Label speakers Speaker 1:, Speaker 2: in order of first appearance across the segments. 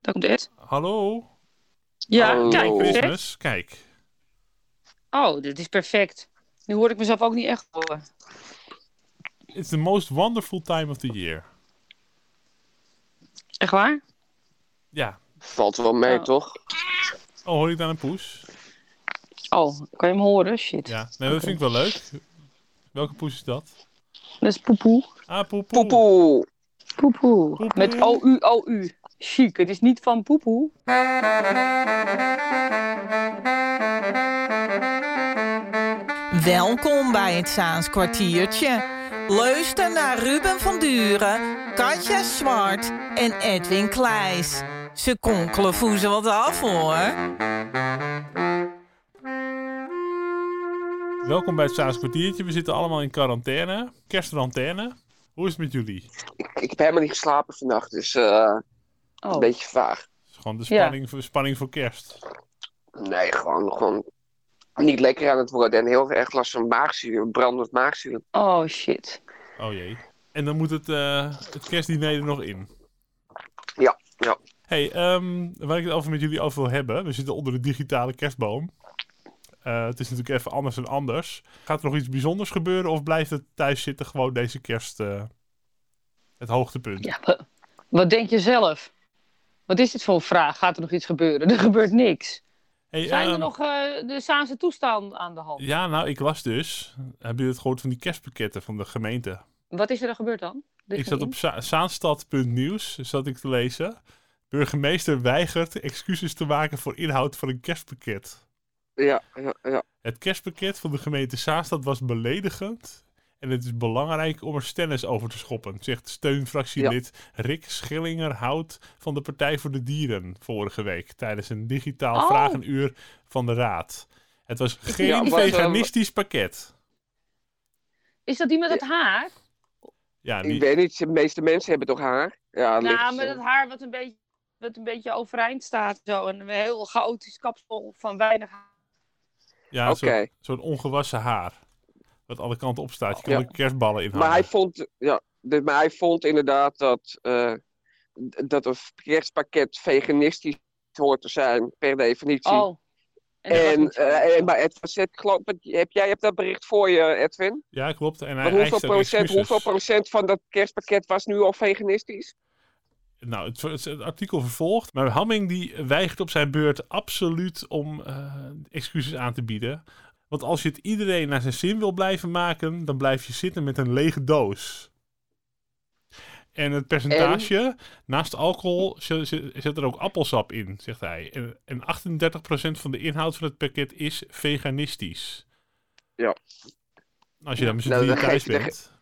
Speaker 1: Daar komt Ed.
Speaker 2: Hallo?
Speaker 1: Ja,
Speaker 3: Hallo.
Speaker 1: kijk. perfect.
Speaker 2: Business, kijk.
Speaker 1: Oh, dit is perfect. Nu hoor ik mezelf ook niet echt horen.
Speaker 2: It's the most wonderful time of the year.
Speaker 1: Echt waar?
Speaker 2: Ja.
Speaker 3: Valt wel mee,
Speaker 1: Oh.
Speaker 3: toch?
Speaker 2: Oh, hoor ik daar een poes?
Speaker 1: Oh, kan je hem horen? Shit.
Speaker 2: Ja. Nee, dat vind ik wel leuk. Welke poes is dat?
Speaker 1: Dat is poepoe.
Speaker 2: Ah, poepoe.
Speaker 3: Poepoe!
Speaker 1: Poepoe.
Speaker 2: Poepoe.
Speaker 1: Met OU, OU. Chic, het is niet van poepoe.
Speaker 4: Welkom bij het Zaans kwartiertje. Luister naar Ruben van Duren, Katja Zwart en Edwin Kleijs. Ze konkelen voezen wat af hoor.
Speaker 2: Welkom bij het Saas kwartiertje. We zitten allemaal in quarantaine. Kerstrantenne. Hoe is het met jullie?
Speaker 3: Ik, ik heb helemaal niet geslapen vannacht, dus eh, een
Speaker 1: Oh,
Speaker 3: beetje vaag.
Speaker 2: Het is gewoon de
Speaker 1: Ja.
Speaker 2: spanning, voor, spanning voor kerst.
Speaker 3: Nee, gewoon, gewoon niet lekker aan het worden. En heel erg last van maagzuur, brandend maagzuur.
Speaker 1: oh shit.
Speaker 2: Oh jee. En dan moet het, eh, het kerstdiner er nog in.
Speaker 3: Ja, ja.
Speaker 2: Hey, ehm, waar ik het over met jullie over wil hebben. We zitten onder de digitale kerstboom. Eh, het is natuurlijk even anders en anders. Gaat er nog iets bijzonders gebeuren of blijft het thuis zitten gewoon deze kerst eh, het hoogtepunt?
Speaker 1: Ja, wa- wat denk je zelf? Wat is dit voor een vraag? Gaat er nog iets gebeuren? Er gebeurt niks.
Speaker 2: Hey,
Speaker 1: Zijn er
Speaker 2: ehm,
Speaker 1: nog eh, de Saanse toestanden aan de hand?
Speaker 2: Ja, nou, ik las dus. Hebben jullie het gehoord van die kerstpakketten van de gemeente?
Speaker 1: Wat is er dan gebeurd dan?
Speaker 2: Ik zat op Za- zaanstad.nieuws zat ik te lezen. Burgemeester weigert excuses te maken voor inhoud van een kerstpakket.
Speaker 3: Ja, ja, ja.
Speaker 2: Het kerstpakket van de gemeente Zaanstad was beledigend. En het is belangrijk om er stennis over te schoppen, zegt steunfractielid Rick Schillingerhout van de Partij voor de Dieren vorige week tijdens een digitaal
Speaker 1: Oh.
Speaker 2: vragenuur van de Raad. Het was geen
Speaker 1: Ja,
Speaker 3: wat, eh,
Speaker 2: veganistisch pakket.
Speaker 1: Is dat die met het haar?
Speaker 2: Ja,
Speaker 3: Ik
Speaker 2: niet,
Speaker 3: weet niet, de meeste mensen hebben toch haar? Ja,
Speaker 1: Nou,
Speaker 3: licht. eh.
Speaker 1: met het haar wat een beetje, wat een beetje overeind staat. Zo. En een heel chaotisch kapsel van weinig haar.
Speaker 2: ja,
Speaker 3: Oké.
Speaker 2: zo'n zo'n ongewassen haar. Wat alle kanten op staat. Je kan
Speaker 3: Ja.
Speaker 2: er kerstballen in
Speaker 3: Maar hij
Speaker 2: hangen.
Speaker 3: vond, ja, dit- maar hij vond inderdaad dat, eh, d- dat een rechtspakket veganistisch hoort te zijn, per definitie.
Speaker 1: Oh. dat was
Speaker 3: en,
Speaker 1: niet zo.
Speaker 3: eh, en- maar Ed was het, geloof, ik- heb, jij hebt dat bericht voor je, Edwin.
Speaker 2: Ja, klopt. En hij
Speaker 3: Maar hoeveel
Speaker 2: eist er
Speaker 3: procent,
Speaker 2: excuses.
Speaker 3: hoeveel procent van dat kerstpakket was nu al veganistisch?
Speaker 2: Nou, het, het- het artikel vervolgt. Maar Hamming die weigert op zijn beurt absoluut om eh, excuses aan te bieden. Want als je het iedereen naar zijn zin wil blijven maken, dan blijf je zitten met een lege doos. En het percentage, naast alcohol z- z- zit er ook appelsap in, zegt hij. En, en 38% van de inhoud van het pakket is veganistisch.
Speaker 3: Ja.
Speaker 2: Als je dan met z'n
Speaker 3: Nou,
Speaker 2: drieën
Speaker 3: dan
Speaker 2: thuis
Speaker 3: geef je de-
Speaker 2: bent.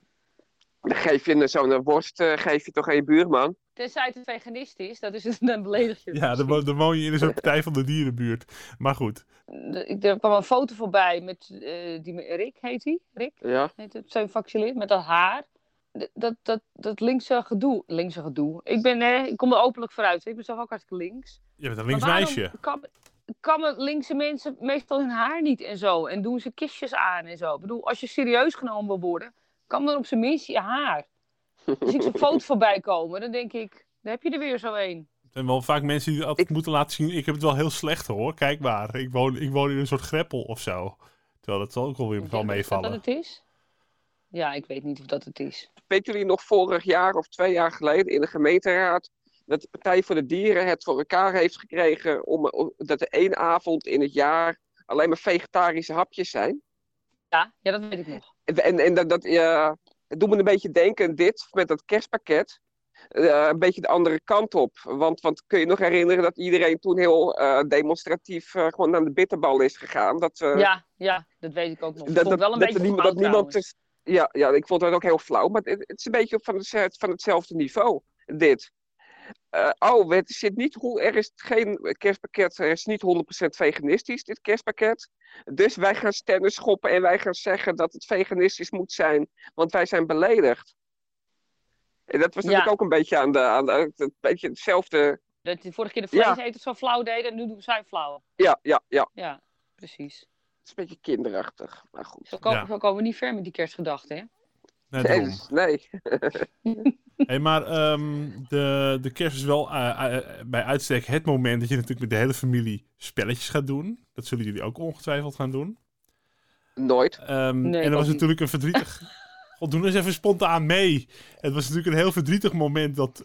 Speaker 3: Dan geef je een- zo'n worst eh, geef je toch aan je buurman?
Speaker 1: Tenzij het een veganist is, dat is het, dan beledig je. het
Speaker 2: Ja, dan,
Speaker 1: misschien.
Speaker 2: wo- dan woon je in zo'n partij van de dierenbuurt. Maar goed.
Speaker 1: De- ik- Er kwam een foto voorbij met eh, die, me- Rick, heet hij? Rick,
Speaker 3: Ja.
Speaker 1: heet het, zijn vaccineerd, met dat haar. D- Dat, dat, dat linkse gedoe. Linkse gedoe. Ik, ben, eh, ik kom er openlijk vooruit. Ik ben zelf ook hartstikke links.
Speaker 2: Je bent een
Speaker 1: Maar
Speaker 2: links meisje.
Speaker 1: waarom Kam, kammen linkse mensen meestal hun haar niet en zo. En doen ze kistjes aan en zo. Ik bedoel, als je serieus genomen wil worden, kam dan op zijn minst je haar. Als ik zo'n foto voorbij komen, dan denk ik, dan heb je er weer zo een.
Speaker 2: Er zijn wel vaak mensen die altijd
Speaker 3: Ik-
Speaker 2: moeten laten zien. Ik heb het wel heel slecht hoor. Kijk maar. Ik woon, ik woon in een soort greppel of zo. Terwijl dat zal ook wel weer wel
Speaker 1: Is dat
Speaker 2: meevallen.
Speaker 1: wat het is? Ja, ik weet niet of dat het is.
Speaker 3: Weet jullie nog vorig jaar of twee jaar geleden in de gemeenteraad dat de Partij voor de Dieren het voor elkaar heeft gekregen om, eh, om- dat er één avond in het jaar alleen maar vegetarische hapjes zijn?
Speaker 1: Ja, ja dat weet ik nog.
Speaker 3: En, en, en dat, dat, eh, het doet me een beetje denken aan dit met dat kerstpakket. eh, een beetje de andere kant op. Want, want kun je nog herinneren dat iedereen toen heel eh, demonstratief eh, gewoon naar de bitterbal is gegaan? Dat, eh,
Speaker 1: Ja, ja, dat weet ik ook nog. Ik
Speaker 3: dat,
Speaker 1: vond het
Speaker 3: dat,
Speaker 1: wel een
Speaker 3: dat
Speaker 1: beetje
Speaker 3: niemand,
Speaker 1: flauw
Speaker 3: dat niemand
Speaker 1: trouwens.
Speaker 3: dus- ja, ja, ik vond dat ook heel flauw. Maar het, het is een beetje van, het, van hetzelfde niveau, dit. Eh, oh, het zit niet, hoe- er is geen kerstpakket, er is niet 100% veganistisch, dit kerstpakket. Dus wij gaan stennis schoppen en wij gaan zeggen dat het veganistisch moet zijn, want wij zijn beledigd. En dat was
Speaker 1: Ja.
Speaker 3: natuurlijk ook een beetje aan de, aan de, een beetje hetzelfde.
Speaker 1: Dat die vorige keer de
Speaker 3: Ja.
Speaker 1: vleeseters zo flauw deden en nu doen zij flauw.
Speaker 3: Ja, ja, ja.
Speaker 1: Ja, precies.
Speaker 3: Het is een beetje kinderachtig, maar goed.
Speaker 1: Zo komen,
Speaker 2: Ja.
Speaker 1: zo komen we niet ver met die kerstgedachten, hè?
Speaker 2: Nee,
Speaker 3: Nee,
Speaker 2: daarom.
Speaker 3: dus nee.
Speaker 2: Hey, maar ehm, de, de kerst is wel eh, eh, bij uitstek het moment dat je natuurlijk met de hele familie spelletjes gaat doen. Dat zullen jullie ook ongetwijfeld gaan doen.
Speaker 3: nooit.
Speaker 2: Ehm,
Speaker 1: Nee,
Speaker 2: en dat
Speaker 1: ook
Speaker 2: was
Speaker 1: niet.
Speaker 2: natuurlijk een verdrietig... God, doe eens even spontaan mee. Het was natuurlijk een heel verdrietig moment dat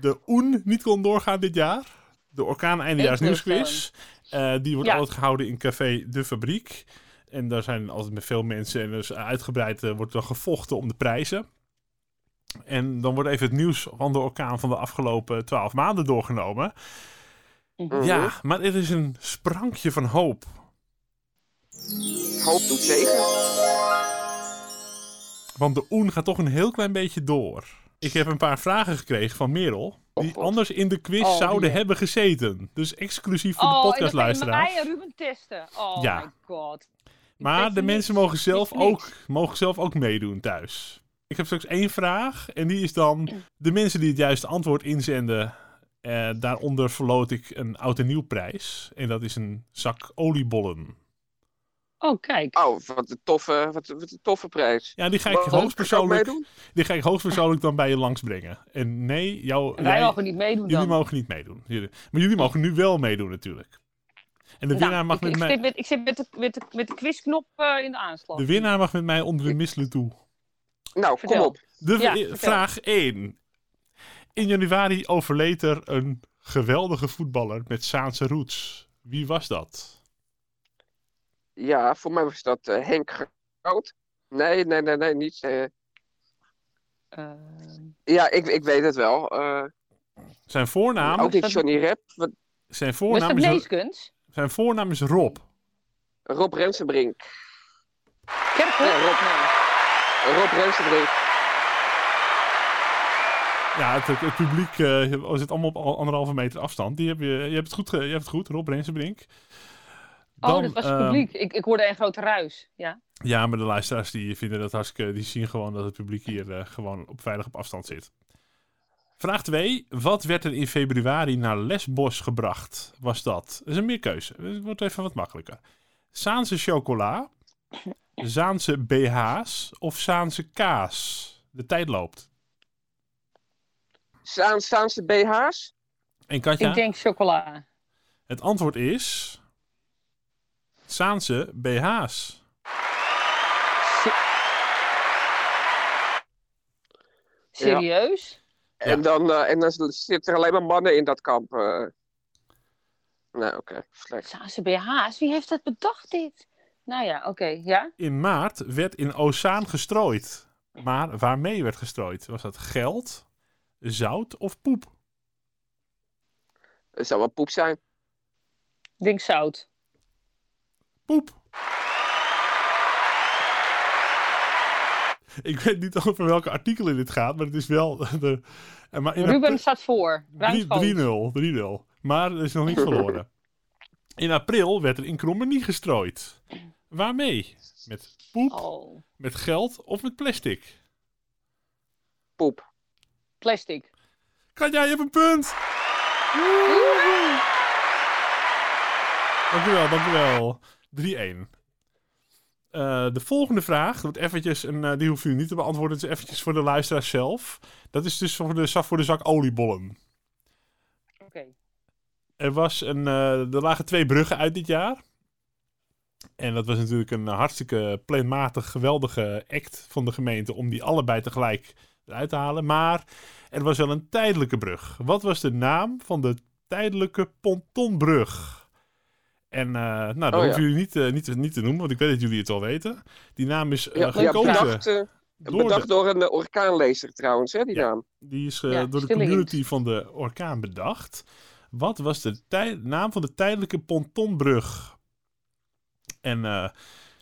Speaker 2: de OEN niet kon doorgaan dit jaar. De Orkaan Eindejaars
Speaker 1: Ik wil
Speaker 2: Nieuwsquiz. Eh, die wordt
Speaker 1: Ja.
Speaker 2: altijd gehouden in Café De Fabriek. En daar zijn altijd met veel mensen en dus uitgebreid eh, wordt dan gevochten om de prijzen. En dan wordt even het nieuws van de orkaan van de afgelopen twaalf maanden doorgenomen.
Speaker 1: Mhm.
Speaker 2: Ja, maar er is een sprankje van hoop.
Speaker 3: Hoop doet zeker.
Speaker 2: Want de Oen gaat toch een heel klein beetje door. Ik heb een paar vragen gekregen van Merel. Die
Speaker 3: God.
Speaker 2: anders in de quiz
Speaker 1: Oh,
Speaker 2: zouden
Speaker 1: jee.
Speaker 2: hebben gezeten. Dus exclusief voor
Speaker 1: oh,
Speaker 2: de
Speaker 1: en dan ga je
Speaker 2: podcastluisteraars.
Speaker 1: mij en Ruben testen. Oh
Speaker 2: Ja.
Speaker 1: my god.
Speaker 2: Maar de
Speaker 1: niks.
Speaker 2: mensen mogen zelf,
Speaker 1: niks.
Speaker 2: ook, mogen zelf ook meedoen thuis. Ik heb straks één vraag. En die is dan: de mensen die het juiste antwoord inzenden. eh, daaronder verloot ik een oud en nieuw prijs. En dat is een zak oliebollen.
Speaker 1: Oh, kijk.
Speaker 3: Oh, wat een toffe, wat, een- wat een toffe prijs.
Speaker 2: Ja, die ga ik
Speaker 3: Waarom?
Speaker 2: hoogstpersoonlijk,
Speaker 3: Zou ik meedoen?
Speaker 2: die ga ik hoogstpersoonlijk dan bij je langsbrengen. En nee, jouw.
Speaker 1: Wij
Speaker 2: jij-
Speaker 1: mogen niet meedoen dan.
Speaker 2: Jullie mogen niet meedoen. Jullie- maar jullie mogen nu wel meedoen natuurlijk. En de
Speaker 1: Nou,
Speaker 2: winnaar mag
Speaker 1: ik,
Speaker 2: met
Speaker 1: ik
Speaker 2: mij...
Speaker 1: Zit met, ik zit met de, met de, met de quizknop eh, in de aanslag.
Speaker 2: De winnaar mag met mij onder de misselen toe.
Speaker 3: Nou,
Speaker 1: Vertel.
Speaker 3: kom op.
Speaker 2: De
Speaker 1: Ja,
Speaker 2: eh,
Speaker 1: vertel.
Speaker 2: vraag 1. In januari overleed er een geweldige voetballer met Saanse roots. Wie was dat?
Speaker 3: Ja, voor mij was dat eh, Henk Groot. Nee, nee, nee, nee, niet. eh,
Speaker 1: Eh,
Speaker 3: ja, ik, ik weet het wel. Eh,
Speaker 2: Ah, Zijn voornaam,
Speaker 3: ook niet
Speaker 1: dat-
Speaker 3: Johnny Rep. wat-
Speaker 2: zijn
Speaker 1: was dat
Speaker 2: voornaam, is,
Speaker 1: Leeskens?
Speaker 2: zijn voornaam is Rob.
Speaker 3: Rob Rensenbrink.
Speaker 1: Kerkhoff?
Speaker 3: Ja, Rob.
Speaker 1: Nee.
Speaker 3: Rob Rensenbrink.
Speaker 2: Ja, het, het publiek eh zit allemaal op al- anderhalve meter afstand. Die heb je, je, hebt het goed, ge- je hebt het goed, Rob Rensenbrink.
Speaker 1: oh, dat was het
Speaker 2: ehm,
Speaker 1: publiek. ik, ik hoorde een grote ruis. Ja.
Speaker 2: Ja, maar de luisteraars die vinden dat hartstikke... die zien gewoon dat het publiek hier eh, gewoon op, veilig op afstand zit. Vraag 2. Wat werd er in februari naar Lesbos gebracht? Was dat? Dat is een meerkeuze. Het wordt even wat makkelijker. Zaanse chocola, Zaanse BH's of Zaanse kaas? De tijd loopt.
Speaker 3: Staan, staan ze BH's?
Speaker 2: En Katja,
Speaker 1: Ik denk chocola.
Speaker 2: het antwoord is... Zaanse BH's.
Speaker 1: Se- Serieus?
Speaker 3: En, dan, eh, en dan zitten er alleen maar mannen in dat kamp. eh. Nou, oké. Slecht.
Speaker 1: Zaanse BH's? Wie heeft dat bedacht dit? Nou ja, oké. Ja?
Speaker 2: In maart werd in Ozaan gestrooid. Maar waarmee werd gestrooid? Was dat geld, zout of poep?
Speaker 3: Het zou wel poep zijn.
Speaker 1: Ik denk zout.
Speaker 2: Poep. Ik weet niet over welke artikelen dit gaat, maar het is wel... De, en maar in
Speaker 1: Ruben
Speaker 2: april-
Speaker 1: staat voor. Ruimschoon.
Speaker 2: drie- 3-0, 3-0. Maar er is nog niet verloren. In april werd er in Krommenie gestrooid. Waarmee? Met poep,
Speaker 1: Oh,
Speaker 2: met geld of met plastic?
Speaker 3: Poep.
Speaker 1: plastic.
Speaker 2: Kan jij hebt een punt? Dankjewel, dankjewel. 3-1. Eh, de volgende vraag, wordt eventjes een, eh, die hoef je niet te beantwoorden, het is eventjes voor de luisteraar zelf. Dat is dus voor de, zak- voor de zak oliebollen.
Speaker 1: Oké.
Speaker 2: Er, was een, eh, er lagen twee bruggen uit dit jaar. En dat was natuurlijk een hartstikke planmatig geweldige act van de gemeente om die allebei tegelijk eruit te halen. Maar er was wel een tijdelijke brug. Wat was de naam van de tijdelijke pontonbrug? En eh, nou, dat
Speaker 3: Oh, ja.
Speaker 2: hoeven jullie niet, eh, niet, niet te noemen, want ik weet dat jullie het al weten. Die naam is eh,
Speaker 3: Ja, ja,
Speaker 2: gekozen.
Speaker 3: bedacht, eh,
Speaker 2: door de-
Speaker 3: bedacht door een eh, orkaanlezer trouwens, hè, die
Speaker 2: Ja.
Speaker 3: naam.
Speaker 2: Die is eh,
Speaker 1: Ja,
Speaker 2: door de
Speaker 1: stille
Speaker 2: community van de orkaan bedacht. Wat was de tij- naam van de tijdelijke pontonbrug? En eh,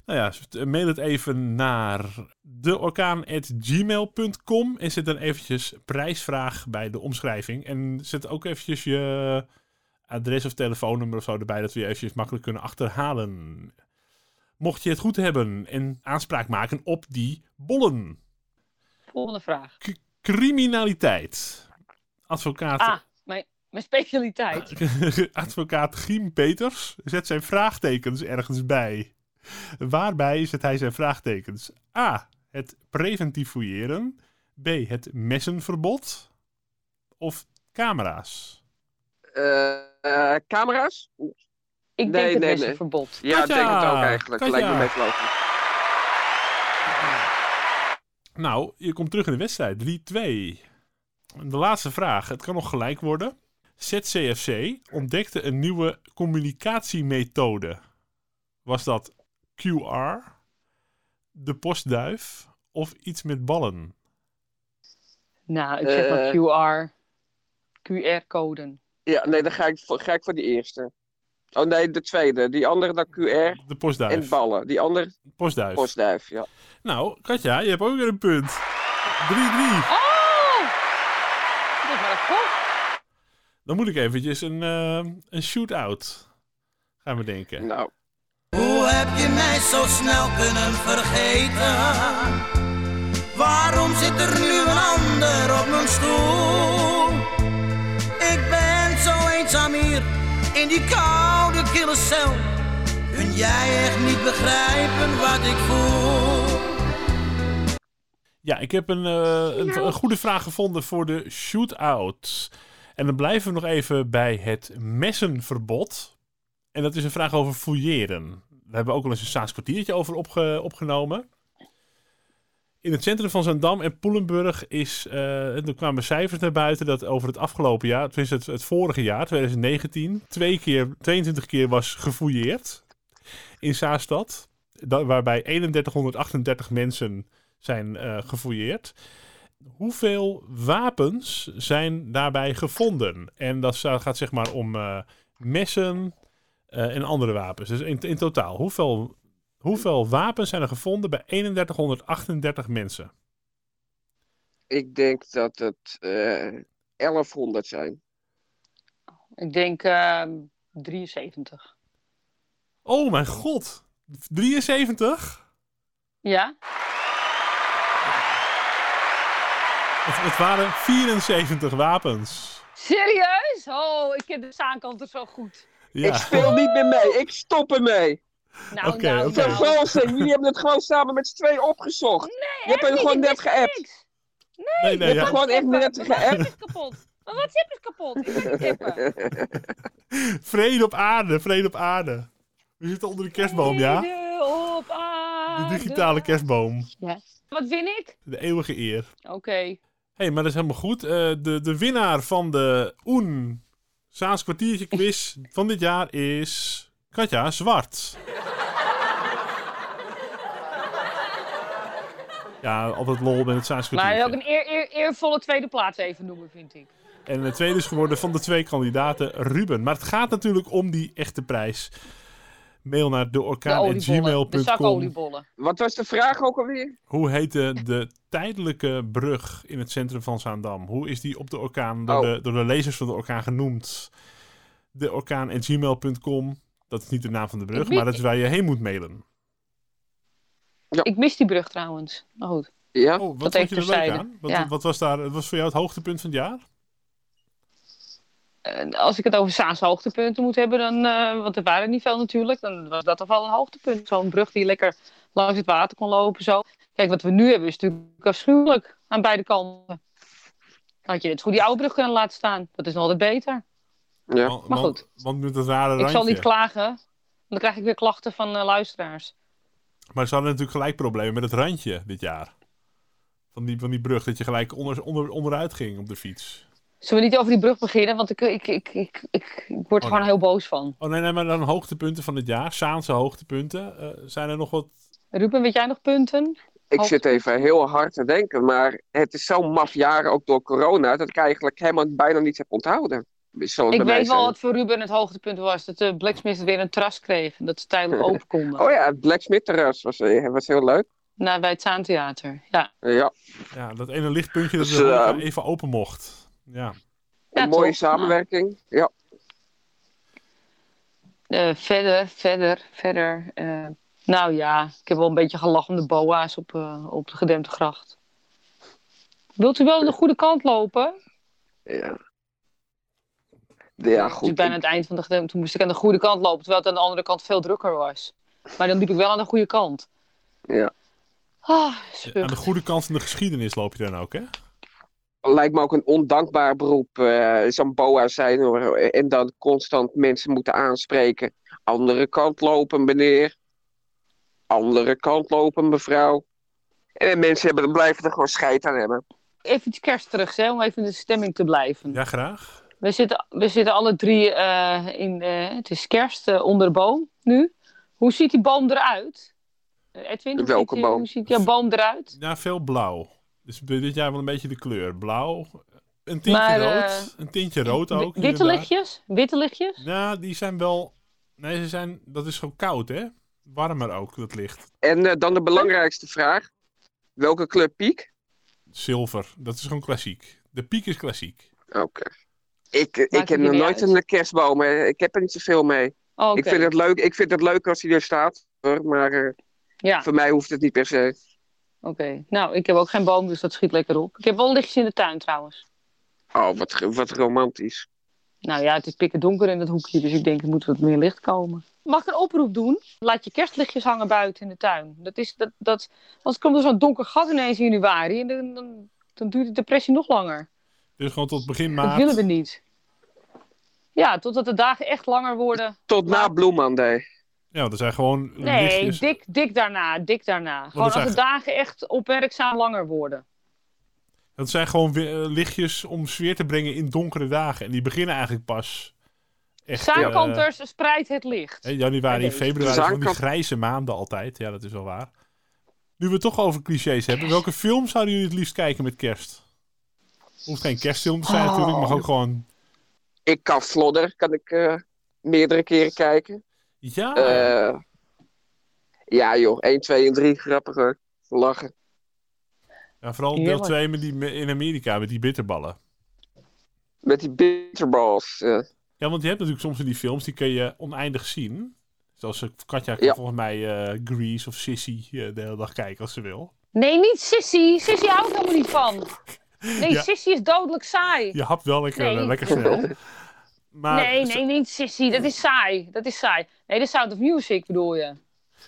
Speaker 2: nou ja, st- mail het even naar deorkaan.gmail.com en zet dan eventjes prijsvraag bij de omschrijving. En zet ook eventjes je adres of telefoonnummer of zo erbij, dat we je eventjes makkelijk kunnen achterhalen. Mocht je het goed hebben en aanspraak maken op die bollen.
Speaker 1: Volgende vraag.
Speaker 2: K- criminaliteit. Advocaat,
Speaker 1: Ah, mijn, mijn
Speaker 2: Ah,
Speaker 1: specialiteit.
Speaker 2: advocaat Giem Peters zet zijn vraagtekens ergens bij. Waarbij zet hij zijn vraagtekens? A. Het preventief fouilleren. B. Het messenverbod. Of camera's.
Speaker 3: Eh, eh, camera's?
Speaker 1: Ik
Speaker 3: Nee,
Speaker 1: denk het
Speaker 3: nee,
Speaker 1: beste
Speaker 3: nee.
Speaker 1: verbod.
Speaker 3: Ja, ik
Speaker 2: Katja!
Speaker 3: denk het ook eigenlijk.
Speaker 2: Katja!
Speaker 3: Lijkt me best logisch.
Speaker 2: Nou, je komt terug in de wedstrijd. 3-2. De laatste vraag. Het kan nog gelijk worden. ZCFC ontdekte een nieuwe communicatiemethode. Was dat QR, de postduif of iets met ballen?
Speaker 1: Nou, ik zeg
Speaker 3: Eh.
Speaker 1: maar QR. QR-coden.
Speaker 3: Ja, nee, dan ga ik, voor, ga ik voor die eerste. Oh nee, de tweede. Die andere dan QR
Speaker 2: De
Speaker 3: en
Speaker 2: postduif.
Speaker 3: ballen. Die andere
Speaker 2: Postduif.
Speaker 3: postduif, ja.
Speaker 2: Nou, Katja, je hebt ook weer een punt. 3-3.
Speaker 1: Oh! Dat is wel een kop.
Speaker 2: Dan moet ik eventjes een, eh, een shootout gaan bedenken.
Speaker 3: Nou,
Speaker 4: Hoe heb je mij zo snel kunnen vergeten? Waarom zit er nu een ander op mijn stoel? Ik ben zo eenzaam hier in die koude kille cel. Kun jij echt niet begrijpen wat ik voel?
Speaker 2: Ja, ik heb een, eh, een, een goede vraag gevonden voor de shootout. En dan blijven we nog even bij het messenverbod. En dat is een vraag over fouilleren. Daar hebben we ook al eens een Saans kwartiertje over opge- opgenomen. In het centrum van Zandam en Poelenburg is, eh, er kwamen cijfers naar buiten dat over het afgelopen jaar, tenminste het, het vorige jaar, 2019, twee keer, 22 keer was gefouilleerd in Saastad. Da- waarbij 3138 mensen zijn eh, gefouilleerd. Hoeveel wapens zijn daarbij gevonden? En dat zou- gaat zeg maar om eh, messen eh, en andere wapens. Dus in, in totaal, hoeveel, hoeveel wapens zijn er gevonden bij 3138 mensen?
Speaker 3: ik denk dat het eh 1100 zijn.
Speaker 1: Ik denk ehm 73.
Speaker 2: Oh mijn god! 73?
Speaker 1: Ja?
Speaker 2: Het, het waren 74 wapens.
Speaker 1: Serieus? Oh, ik ken de zaankant zo goed.
Speaker 2: Ja.
Speaker 3: Ik speel niet meer mee. Ik stop ermee.
Speaker 1: Nou,
Speaker 2: Oké,
Speaker 1: nou,
Speaker 2: oké.
Speaker 3: Ter
Speaker 1: nou.
Speaker 3: verrassing, jullie hebben het gewoon samen met z'n tweeën opgezocht. je hebt het
Speaker 1: Echt
Speaker 3: gewoon
Speaker 1: niet, ik
Speaker 3: net
Speaker 1: wist
Speaker 3: geappt.
Speaker 1: niks.
Speaker 2: Nee, nee,
Speaker 3: hebt
Speaker 2: ja.
Speaker 3: gewoon echt
Speaker 1: Mijn
Speaker 3: net
Speaker 1: WhatsApp is kapot. Mijn WhatsApp is dus kapot. Ik kan niet tippen.
Speaker 2: Vrede op aarde, vrede op aarde. We zitten onder de kerstboom, ja?
Speaker 1: Vrede op
Speaker 2: De
Speaker 1: aarde.
Speaker 2: digitale kerstboom.
Speaker 1: Wat win ik?
Speaker 2: De eeuwige eer.
Speaker 1: Oké.
Speaker 2: Hé, hey, maar dat is helemaal goed. Eh, de, de winnaar van de Oen Saans kwartiertje quiz van dit jaar is Katja Zwart. Ja, altijd lol met het Saans
Speaker 1: Maar ook
Speaker 2: kwartiertje.
Speaker 1: een eer, eer, eervolle tweede plaats even noemen, vind ik.
Speaker 2: En de tweede is geworden van de twee kandidaten Ruben. Maar het gaat natuurlijk om die echte prijs. Mail naar
Speaker 1: De oliebollen. De zak
Speaker 2: deorkaan.gmail.com.
Speaker 1: oliebollen.
Speaker 3: Wat was de vraag ook alweer?
Speaker 2: Hoe heette de tijdelijke brug in het centrum van Zaandam? Hoe is die op de orkaan door,
Speaker 3: Oh.
Speaker 2: de, door de lezers van de orkaan genoemd? De orkaan gmail.com. Dat is niet de naam van de brug,
Speaker 1: weet-
Speaker 2: maar dat is waar je heen moet mailen.
Speaker 1: Oh, Ik mis die brug trouwens. Maar goed.
Speaker 3: Ja?
Speaker 2: Oh,
Speaker 1: Dat
Speaker 2: wat vond
Speaker 1: even
Speaker 2: je er leuk
Speaker 1: terzijde.
Speaker 2: aan? Wat,
Speaker 1: Ja.
Speaker 2: wat was daar? Wat was voor jou het hoogtepunt van het jaar?
Speaker 1: Eh, als ik het over Saanse hoogtepunten moet hebben, dan, eh, want er waren niet veel natuurlijk, dan was dat toch wel een hoogtepunt. Zo'n brug die lekker langs het water kon lopen. Zo. Kijk, wat we nu hebben is natuurlijk afschuwelijk aan beide kanten. Had je net zo goed die oude brug kunnen laten staan. Dat is nog altijd beter.
Speaker 3: Ja.
Speaker 2: Want-
Speaker 1: maar
Speaker 2: want- Want met dat rare
Speaker 1: Ik zal
Speaker 2: randje.
Speaker 1: niet klagen, want dan krijg ik weer klachten van eh, luisteraars.
Speaker 2: Maar ze hadden natuurlijk gelijk problemen met het randje dit jaar. Van die, van die brug, dat je gelijk onder, onder, onderuit ging op de fiets.
Speaker 1: Zullen we niet over die brug beginnen, want ik, ik, ik, ik, ik, ik word er
Speaker 2: Oh,
Speaker 1: gewoon
Speaker 2: nee.
Speaker 1: heel boos van.
Speaker 2: Oh nee, nee, maar dan hoogtepunten van het jaar. Saanse hoogtepunten. Eh, zijn er nog wat
Speaker 1: Ruben, weet jij nog punten?
Speaker 3: Ik zit even heel hard te denken, maar het is zo'n maf jaar ook door corona dat ik eigenlijk helemaal bijna niets heb onthouden. Zal het
Speaker 1: ik
Speaker 3: bij mij
Speaker 1: weet wel
Speaker 3: zijn.
Speaker 1: wat voor Ruben het hoogtepunt was. Dat de Blacksmith weer een tras kreeg. en Dat ze tijdelijk open konden.
Speaker 3: Oh ja, het Blacksmith terras was, eh, was heel leuk. Eh,
Speaker 1: Nou, bij het Zaantheater. Ja.
Speaker 3: Ja,
Speaker 2: Ja, dat ene lichtpuntje dat
Speaker 3: Dus,
Speaker 2: de horeca
Speaker 3: eh,
Speaker 2: even open mocht. Ja.
Speaker 1: Ja,
Speaker 3: een mooie
Speaker 1: toch?
Speaker 3: samenwerking. Ja.
Speaker 1: Eh, verder, verder, verder. eh, nou ja, ik heb wel een beetje gelachen om de boa's op, eh, op de gedempte gracht. Wilt u wel aan de goede kant lopen?
Speaker 3: Ja, ja
Speaker 1: Dus
Speaker 3: goed.
Speaker 1: bijna aan het eind van de gedempte. Toen moest ik aan de goede kant lopen, terwijl het aan de andere kant veel drukker was. Maar dan liep ik wel aan de goede kant.
Speaker 3: Ja.
Speaker 1: Ah,
Speaker 2: Aan de
Speaker 1: spuug.
Speaker 2: goede kant van de geschiedenis loop je dan ook, hè?
Speaker 3: Lijkt me ook een ondankbaar beroep. eh zo'n boa zijn hoor. En dan constant mensen moeten aanspreken. Andere kant lopen, meneer. Andere kant lopen, mevrouw. En mensen hebben, er- blijven er gewoon scheid aan hebben.
Speaker 1: Even iets kerstigs, hè, om even in de stemming te blijven.
Speaker 2: Ja, graag.
Speaker 1: We, zitten, we zitten alle drie eh, in. eh, het is kerst eh, onder de boom nu. Hoe ziet die boom eruit? Eh, Edwin, hoe
Speaker 3: Welke
Speaker 1: ziet die-
Speaker 3: boom?
Speaker 1: Hoe ziet jouw boom eruit?
Speaker 2: Ja, veel blauw. Dus bij dit jaar wel een beetje de kleur. Blauw. Een tintje
Speaker 1: Maar,
Speaker 2: rood.
Speaker 1: eh,
Speaker 2: een tintje rood ook.
Speaker 1: Wi- Witte
Speaker 2: inderdaad.
Speaker 1: lichtjes? Witte lichtjes?
Speaker 2: Ja, die zijn wel... Nee, ze zijn... Dat is gewoon koud, hè? Warmer ook, dat licht.
Speaker 3: En eh, dan de belangrijkste vraag. Welke kleur piek?
Speaker 2: Zilver. Dat is gewoon klassiek. De piek is klassiek.
Speaker 3: Oké. Ik, eh, ik
Speaker 1: het
Speaker 3: heb nog
Speaker 1: jullie
Speaker 3: nooit
Speaker 1: uit?
Speaker 3: een kerstboom. hè. Ik heb er niet zoveel mee.
Speaker 1: Oh,
Speaker 3: Ik, vind het leuk, ik vind het leuk als hij er staat. hoor, Maar eh,
Speaker 1: Ja, oké.
Speaker 3: voor mij hoeft het niet per se.
Speaker 1: Nou, ik heb ook geen boom, dus dat schiet lekker op. Ik heb wel lichtjes in de tuin trouwens.
Speaker 3: Oh, wat, ge- wat romantisch.
Speaker 1: Nou ja, het is pikken donker in dat hoekje, dus ik denk er moet wat meer licht komen. Mag ik een oproep doen? Laat je kerstlichtjes hangen buiten in de tuin. Dat is, dat, dat, anders komt er zo'n donker gat ineens in januari en dan, dan, dan duurt de depressie nog langer.
Speaker 2: Dus gewoon tot begin
Speaker 1: Dat willen we
Speaker 2: maart.
Speaker 1: niet. Ja, totdat de dagen echt langer worden.
Speaker 3: Tot na
Speaker 1: Maar-
Speaker 3: Blue Monday.
Speaker 2: Ja, want er zijn gewoon
Speaker 1: Nee,
Speaker 2: lichtjes.
Speaker 1: dik, dik daarna, dik daarna. Gewoon
Speaker 2: dat
Speaker 1: als
Speaker 2: is
Speaker 1: de dagen echt opmerkzaam langer worden.
Speaker 2: Dat zijn gewoon wi- eh, lichtjes om sfeer te brengen in donkere dagen. En die beginnen eigenlijk pas... Echt, eh,
Speaker 1: Zaankanters, spreid het licht.
Speaker 2: Hè, januari en
Speaker 1: Bij deze.
Speaker 2: februari zijn van die
Speaker 3: Zaankant-
Speaker 2: grijze maanden altijd. Ja, dat is wel waar. Nu we het toch over clichés hebben, welke film zouden jullie het liefst kijken met kerst? Hoeft geen kerstfilm te zijn
Speaker 1: Oh.
Speaker 2: natuurlijk, maar ook gewoon...
Speaker 3: Ik kan Flodder, kan ik eh, meerdere keren kijken.
Speaker 2: Ja,
Speaker 1: Oh.
Speaker 3: Eh, ja joh, 1, 2 en 3, grappig hoor. Lachen.
Speaker 2: ja vooral deel
Speaker 1: heerlijk.
Speaker 2: 2 met die, me- in Amerika met die bitterballen.
Speaker 3: Met die bitterballs. eh.
Speaker 2: Ja, want je hebt natuurlijk soms in die films, die kun je oneindig zien. Zoals eh, Katja kan
Speaker 3: Ja.
Speaker 2: volgens mij eh, Grease of Sissy eh, de hele dag kijken als ze wil.
Speaker 1: Nee, niet Sissy. Sissy houdt helemaal niet van. Nee,
Speaker 2: Ja.
Speaker 1: Sissy is dodelijk saai.
Speaker 2: Je hapt wel lekker,
Speaker 1: Nee.
Speaker 2: eh, lekker snel. Maar
Speaker 1: nee, nee, niet Sissy. Dat is saai. Dat is saai. Nee, de Sound of Music bedoel je.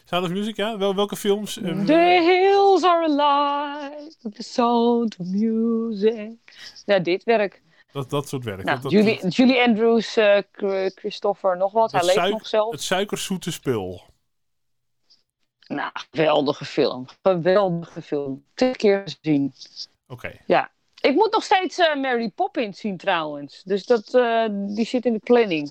Speaker 2: Sound of Music, ja? Wel, welke films? eh,
Speaker 1: The hills are alive with the sound of music. Ja, dit werk.
Speaker 2: dat, dat soort werk.
Speaker 1: Nou,
Speaker 2: Dat- dat-
Speaker 1: Julie, Julie Andrews, eh, Chr- Christopher, nog wat. Hij
Speaker 2: Het
Speaker 1: leeft
Speaker 2: suik-
Speaker 1: nog zelf.
Speaker 2: Het suikerzoete spul.
Speaker 1: Nou, geweldige film. Geweldige film. Twee keer gezien.
Speaker 2: Oké.
Speaker 1: Ik moet nog steeds eh, Mary Poppins zien trouwens. Dus dat, eh, die zit in de planning.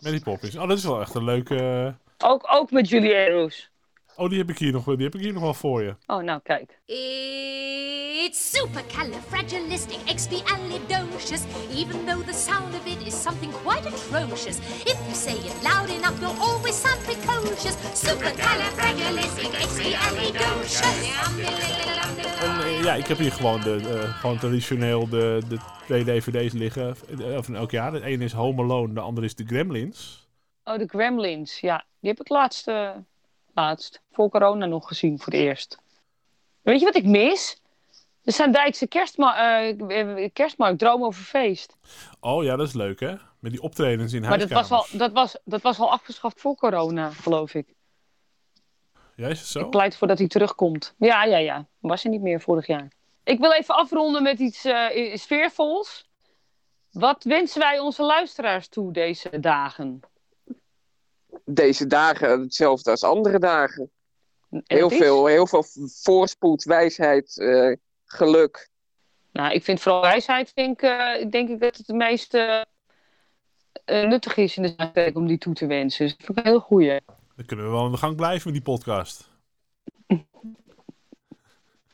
Speaker 2: Mary Poppins. Oh, dat is wel echt een leuke... eh,
Speaker 1: Ook, ook met Julie Andrews.
Speaker 2: Oh, die heb ik hier nog, die heb ik hier nog wel voor je.
Speaker 1: Oh, nou kijk.
Speaker 5: It's supercalifragilisticexpialidocious, even though the sound of it is something quite atrocious. If you say it loud enough, you'll always sound precocious. Supercalifragilisticexpialidocious.
Speaker 2: En, eh, ja, ik heb hier gewoon, de, eh, gewoon traditioneel de, de twee DVD's liggen. eh, Van elk jaar. De ene is Home Alone, de andere is The Gremlins.
Speaker 1: Oh, de Gremlins. Ja, die heb ik laatst, eh, laatst voor corona nog gezien voor het eerst. Weet je wat ik mis? De Zandijkse kerstma eh, kerstmarkt, Droom over Feest.
Speaker 2: Oh ja, dat is leuk, hè? Met die optredens in
Speaker 1: Maar dat was,
Speaker 2: huiskamers.
Speaker 1: al, dat, was, dat was al afgeschaft voor corona, geloof ik.
Speaker 2: Ja, is het zo?
Speaker 1: Ik pleit ervoor dat hij terugkomt. Ja, ja, ja. Was hij niet meer vorig jaar. Ik wil even afronden met iets eh, i- sfeervols. Wat wensen wij onze luisteraars toe deze dagen?
Speaker 3: Deze dagen hetzelfde als andere dagen.
Speaker 1: En
Speaker 3: Heel
Speaker 1: dat is-
Speaker 3: veel, heel veel voorspoed, wijsheid, eh, geluk.
Speaker 1: Nou, ik vind vooral wijsheid, vind ik, eh, denk ik dat het het meest eh, eh, nuttig is in de zaak om die toe te wensen. Dus dat vind ik een heel goeie.
Speaker 2: Dan kunnen we wel aan de gang blijven met die podcast.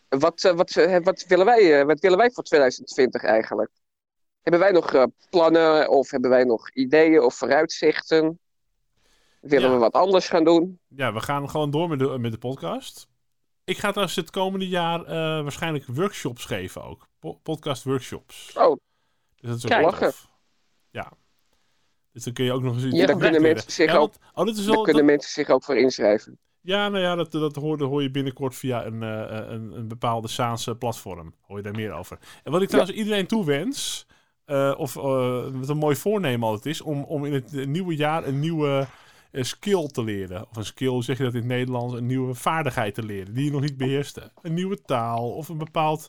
Speaker 3: Wat, eh, wat, eh, wat, willen wij, eh, wat willen wij voor 2020 eigenlijk? Hebben wij nog eh, plannen of hebben wij nog ideeën of vooruitzichten? Willen
Speaker 2: Ja.
Speaker 3: we wat anders gaan doen?
Speaker 2: Ja, we gaan gewoon door met de, met de podcast. Ik ga trouwens het komende jaar eh, waarschijnlijk workshops geven ook. Po- podcast workshops.
Speaker 3: Oh,
Speaker 2: Dus dat is ook
Speaker 1: Kijk.
Speaker 2: wel tof. Ja. Dus dan kun je ook nog eens iets
Speaker 3: Ja, daar kunnen
Speaker 2: leren.
Speaker 3: mensen zich
Speaker 2: ja,
Speaker 3: ook-
Speaker 2: want- Oh, dit is
Speaker 3: daar
Speaker 2: wel,
Speaker 3: kunnen
Speaker 2: dat-
Speaker 3: mensen zich ook voor inschrijven.
Speaker 2: ja, nou ja, dat, dat hoor, dat hoor je binnenkort via een, eh, eh, een, een bepaalde Saanse platform. Hoor je daar meer over. En wat ik trouwens iedereen toewens, eh, of eh, wat eh, een mooi voornemen altijd is, om, om in het nieuwe jaar een nieuwe een skill te leren. Of een skill, hoe zeg je dat in het Nederlands? Een nieuwe vaardigheid te leren die je nog niet beheerste. Een nieuwe taal of een bepaald.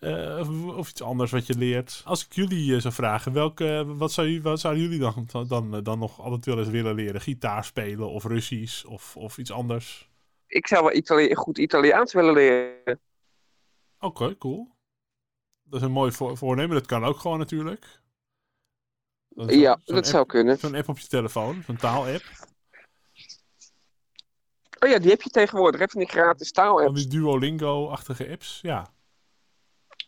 Speaker 2: eh, of, of iets anders wat je leert. Als ik jullie eh, zou vragen, welke, wat, zou, je- wat zouden jullie dan, dan, dan, dan nog altijd wel eens willen leren? Gitaar spelen of Russisch of, of iets anders?
Speaker 3: Ik zou wel Itali goed Italiaans willen leren.
Speaker 2: Oké, cool. Dat is een mooi voor- voornemen. Dat kan ook gewoon natuurlijk. Dat is
Speaker 3: Ja,
Speaker 2: zo'n- zo'n
Speaker 3: dat
Speaker 2: app-
Speaker 3: zou kunnen.
Speaker 2: Zo'n app op je telefoon, zo'n taalapp.
Speaker 3: Oh ja, die heb je tegenwoordig. Even die gratis taal
Speaker 2: Van die Duolingo-achtige apps. Ja.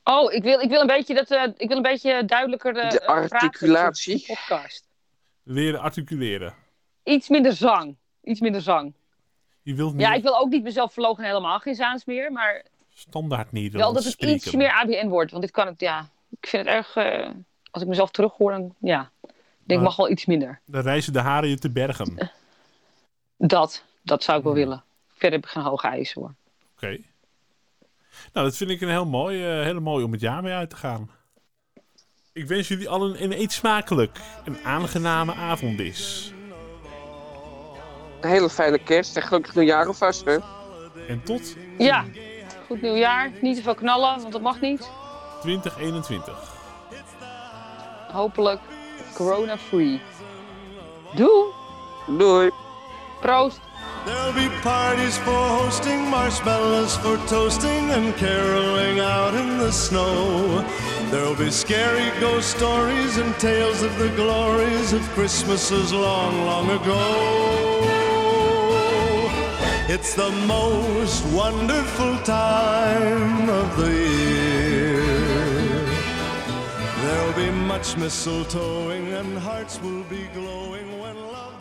Speaker 1: Oh, ik wil, ik wil, een, beetje dat, eh, ik wil een beetje duidelijker eh,
Speaker 3: De
Speaker 1: eh, praten
Speaker 3: articulatie.
Speaker 1: op de podcast.
Speaker 2: Leren articuleren.
Speaker 1: Iets minder zang. Iets minder zang.
Speaker 2: Je wilt niet
Speaker 1: Ja, ik wil ook niet mezelf verlogen helemaal geen Zaans meer. Maar
Speaker 2: standaard Nederlands
Speaker 1: wel dat het
Speaker 2: spreken.
Speaker 1: iets meer ABN wordt. Want dit kan het, ja. Ik vind het erg... eh, als ik mezelf terughoor, dan ja. Ik denk,
Speaker 2: Maar-
Speaker 1: mag wel iets minder.
Speaker 2: Dan reizen de haren je te bergen. Oké.
Speaker 1: Dat, dat zou ik wel
Speaker 2: Ja.
Speaker 1: willen. Verder heb ik geen hoge eisen hoor.
Speaker 2: Nou, dat vind ik een heel mooi, eh, hele mooi om het jaar mee uit te gaan. Ik wens jullie allen een eet smakelijk en aangename avond is.
Speaker 3: Een hele fijne kerst en gelukkig nieuwjaar alvast. Hè?
Speaker 2: En tot
Speaker 1: Ja, goed nieuwjaar. Niet te veel knallen, want dat mag niet.
Speaker 2: 2021.
Speaker 1: Hopelijk corona-free. Doe!
Speaker 3: Doei.
Speaker 1: Proost!
Speaker 6: There'll be parties for hosting, marshmallows for toasting, and caroling out in the snow. There'll be scary ghost stories and tales of the glories of Christmases long, long ago. It's the most wonderful time of the year. There'll be much mistletoeing, and hearts will be glowing when love.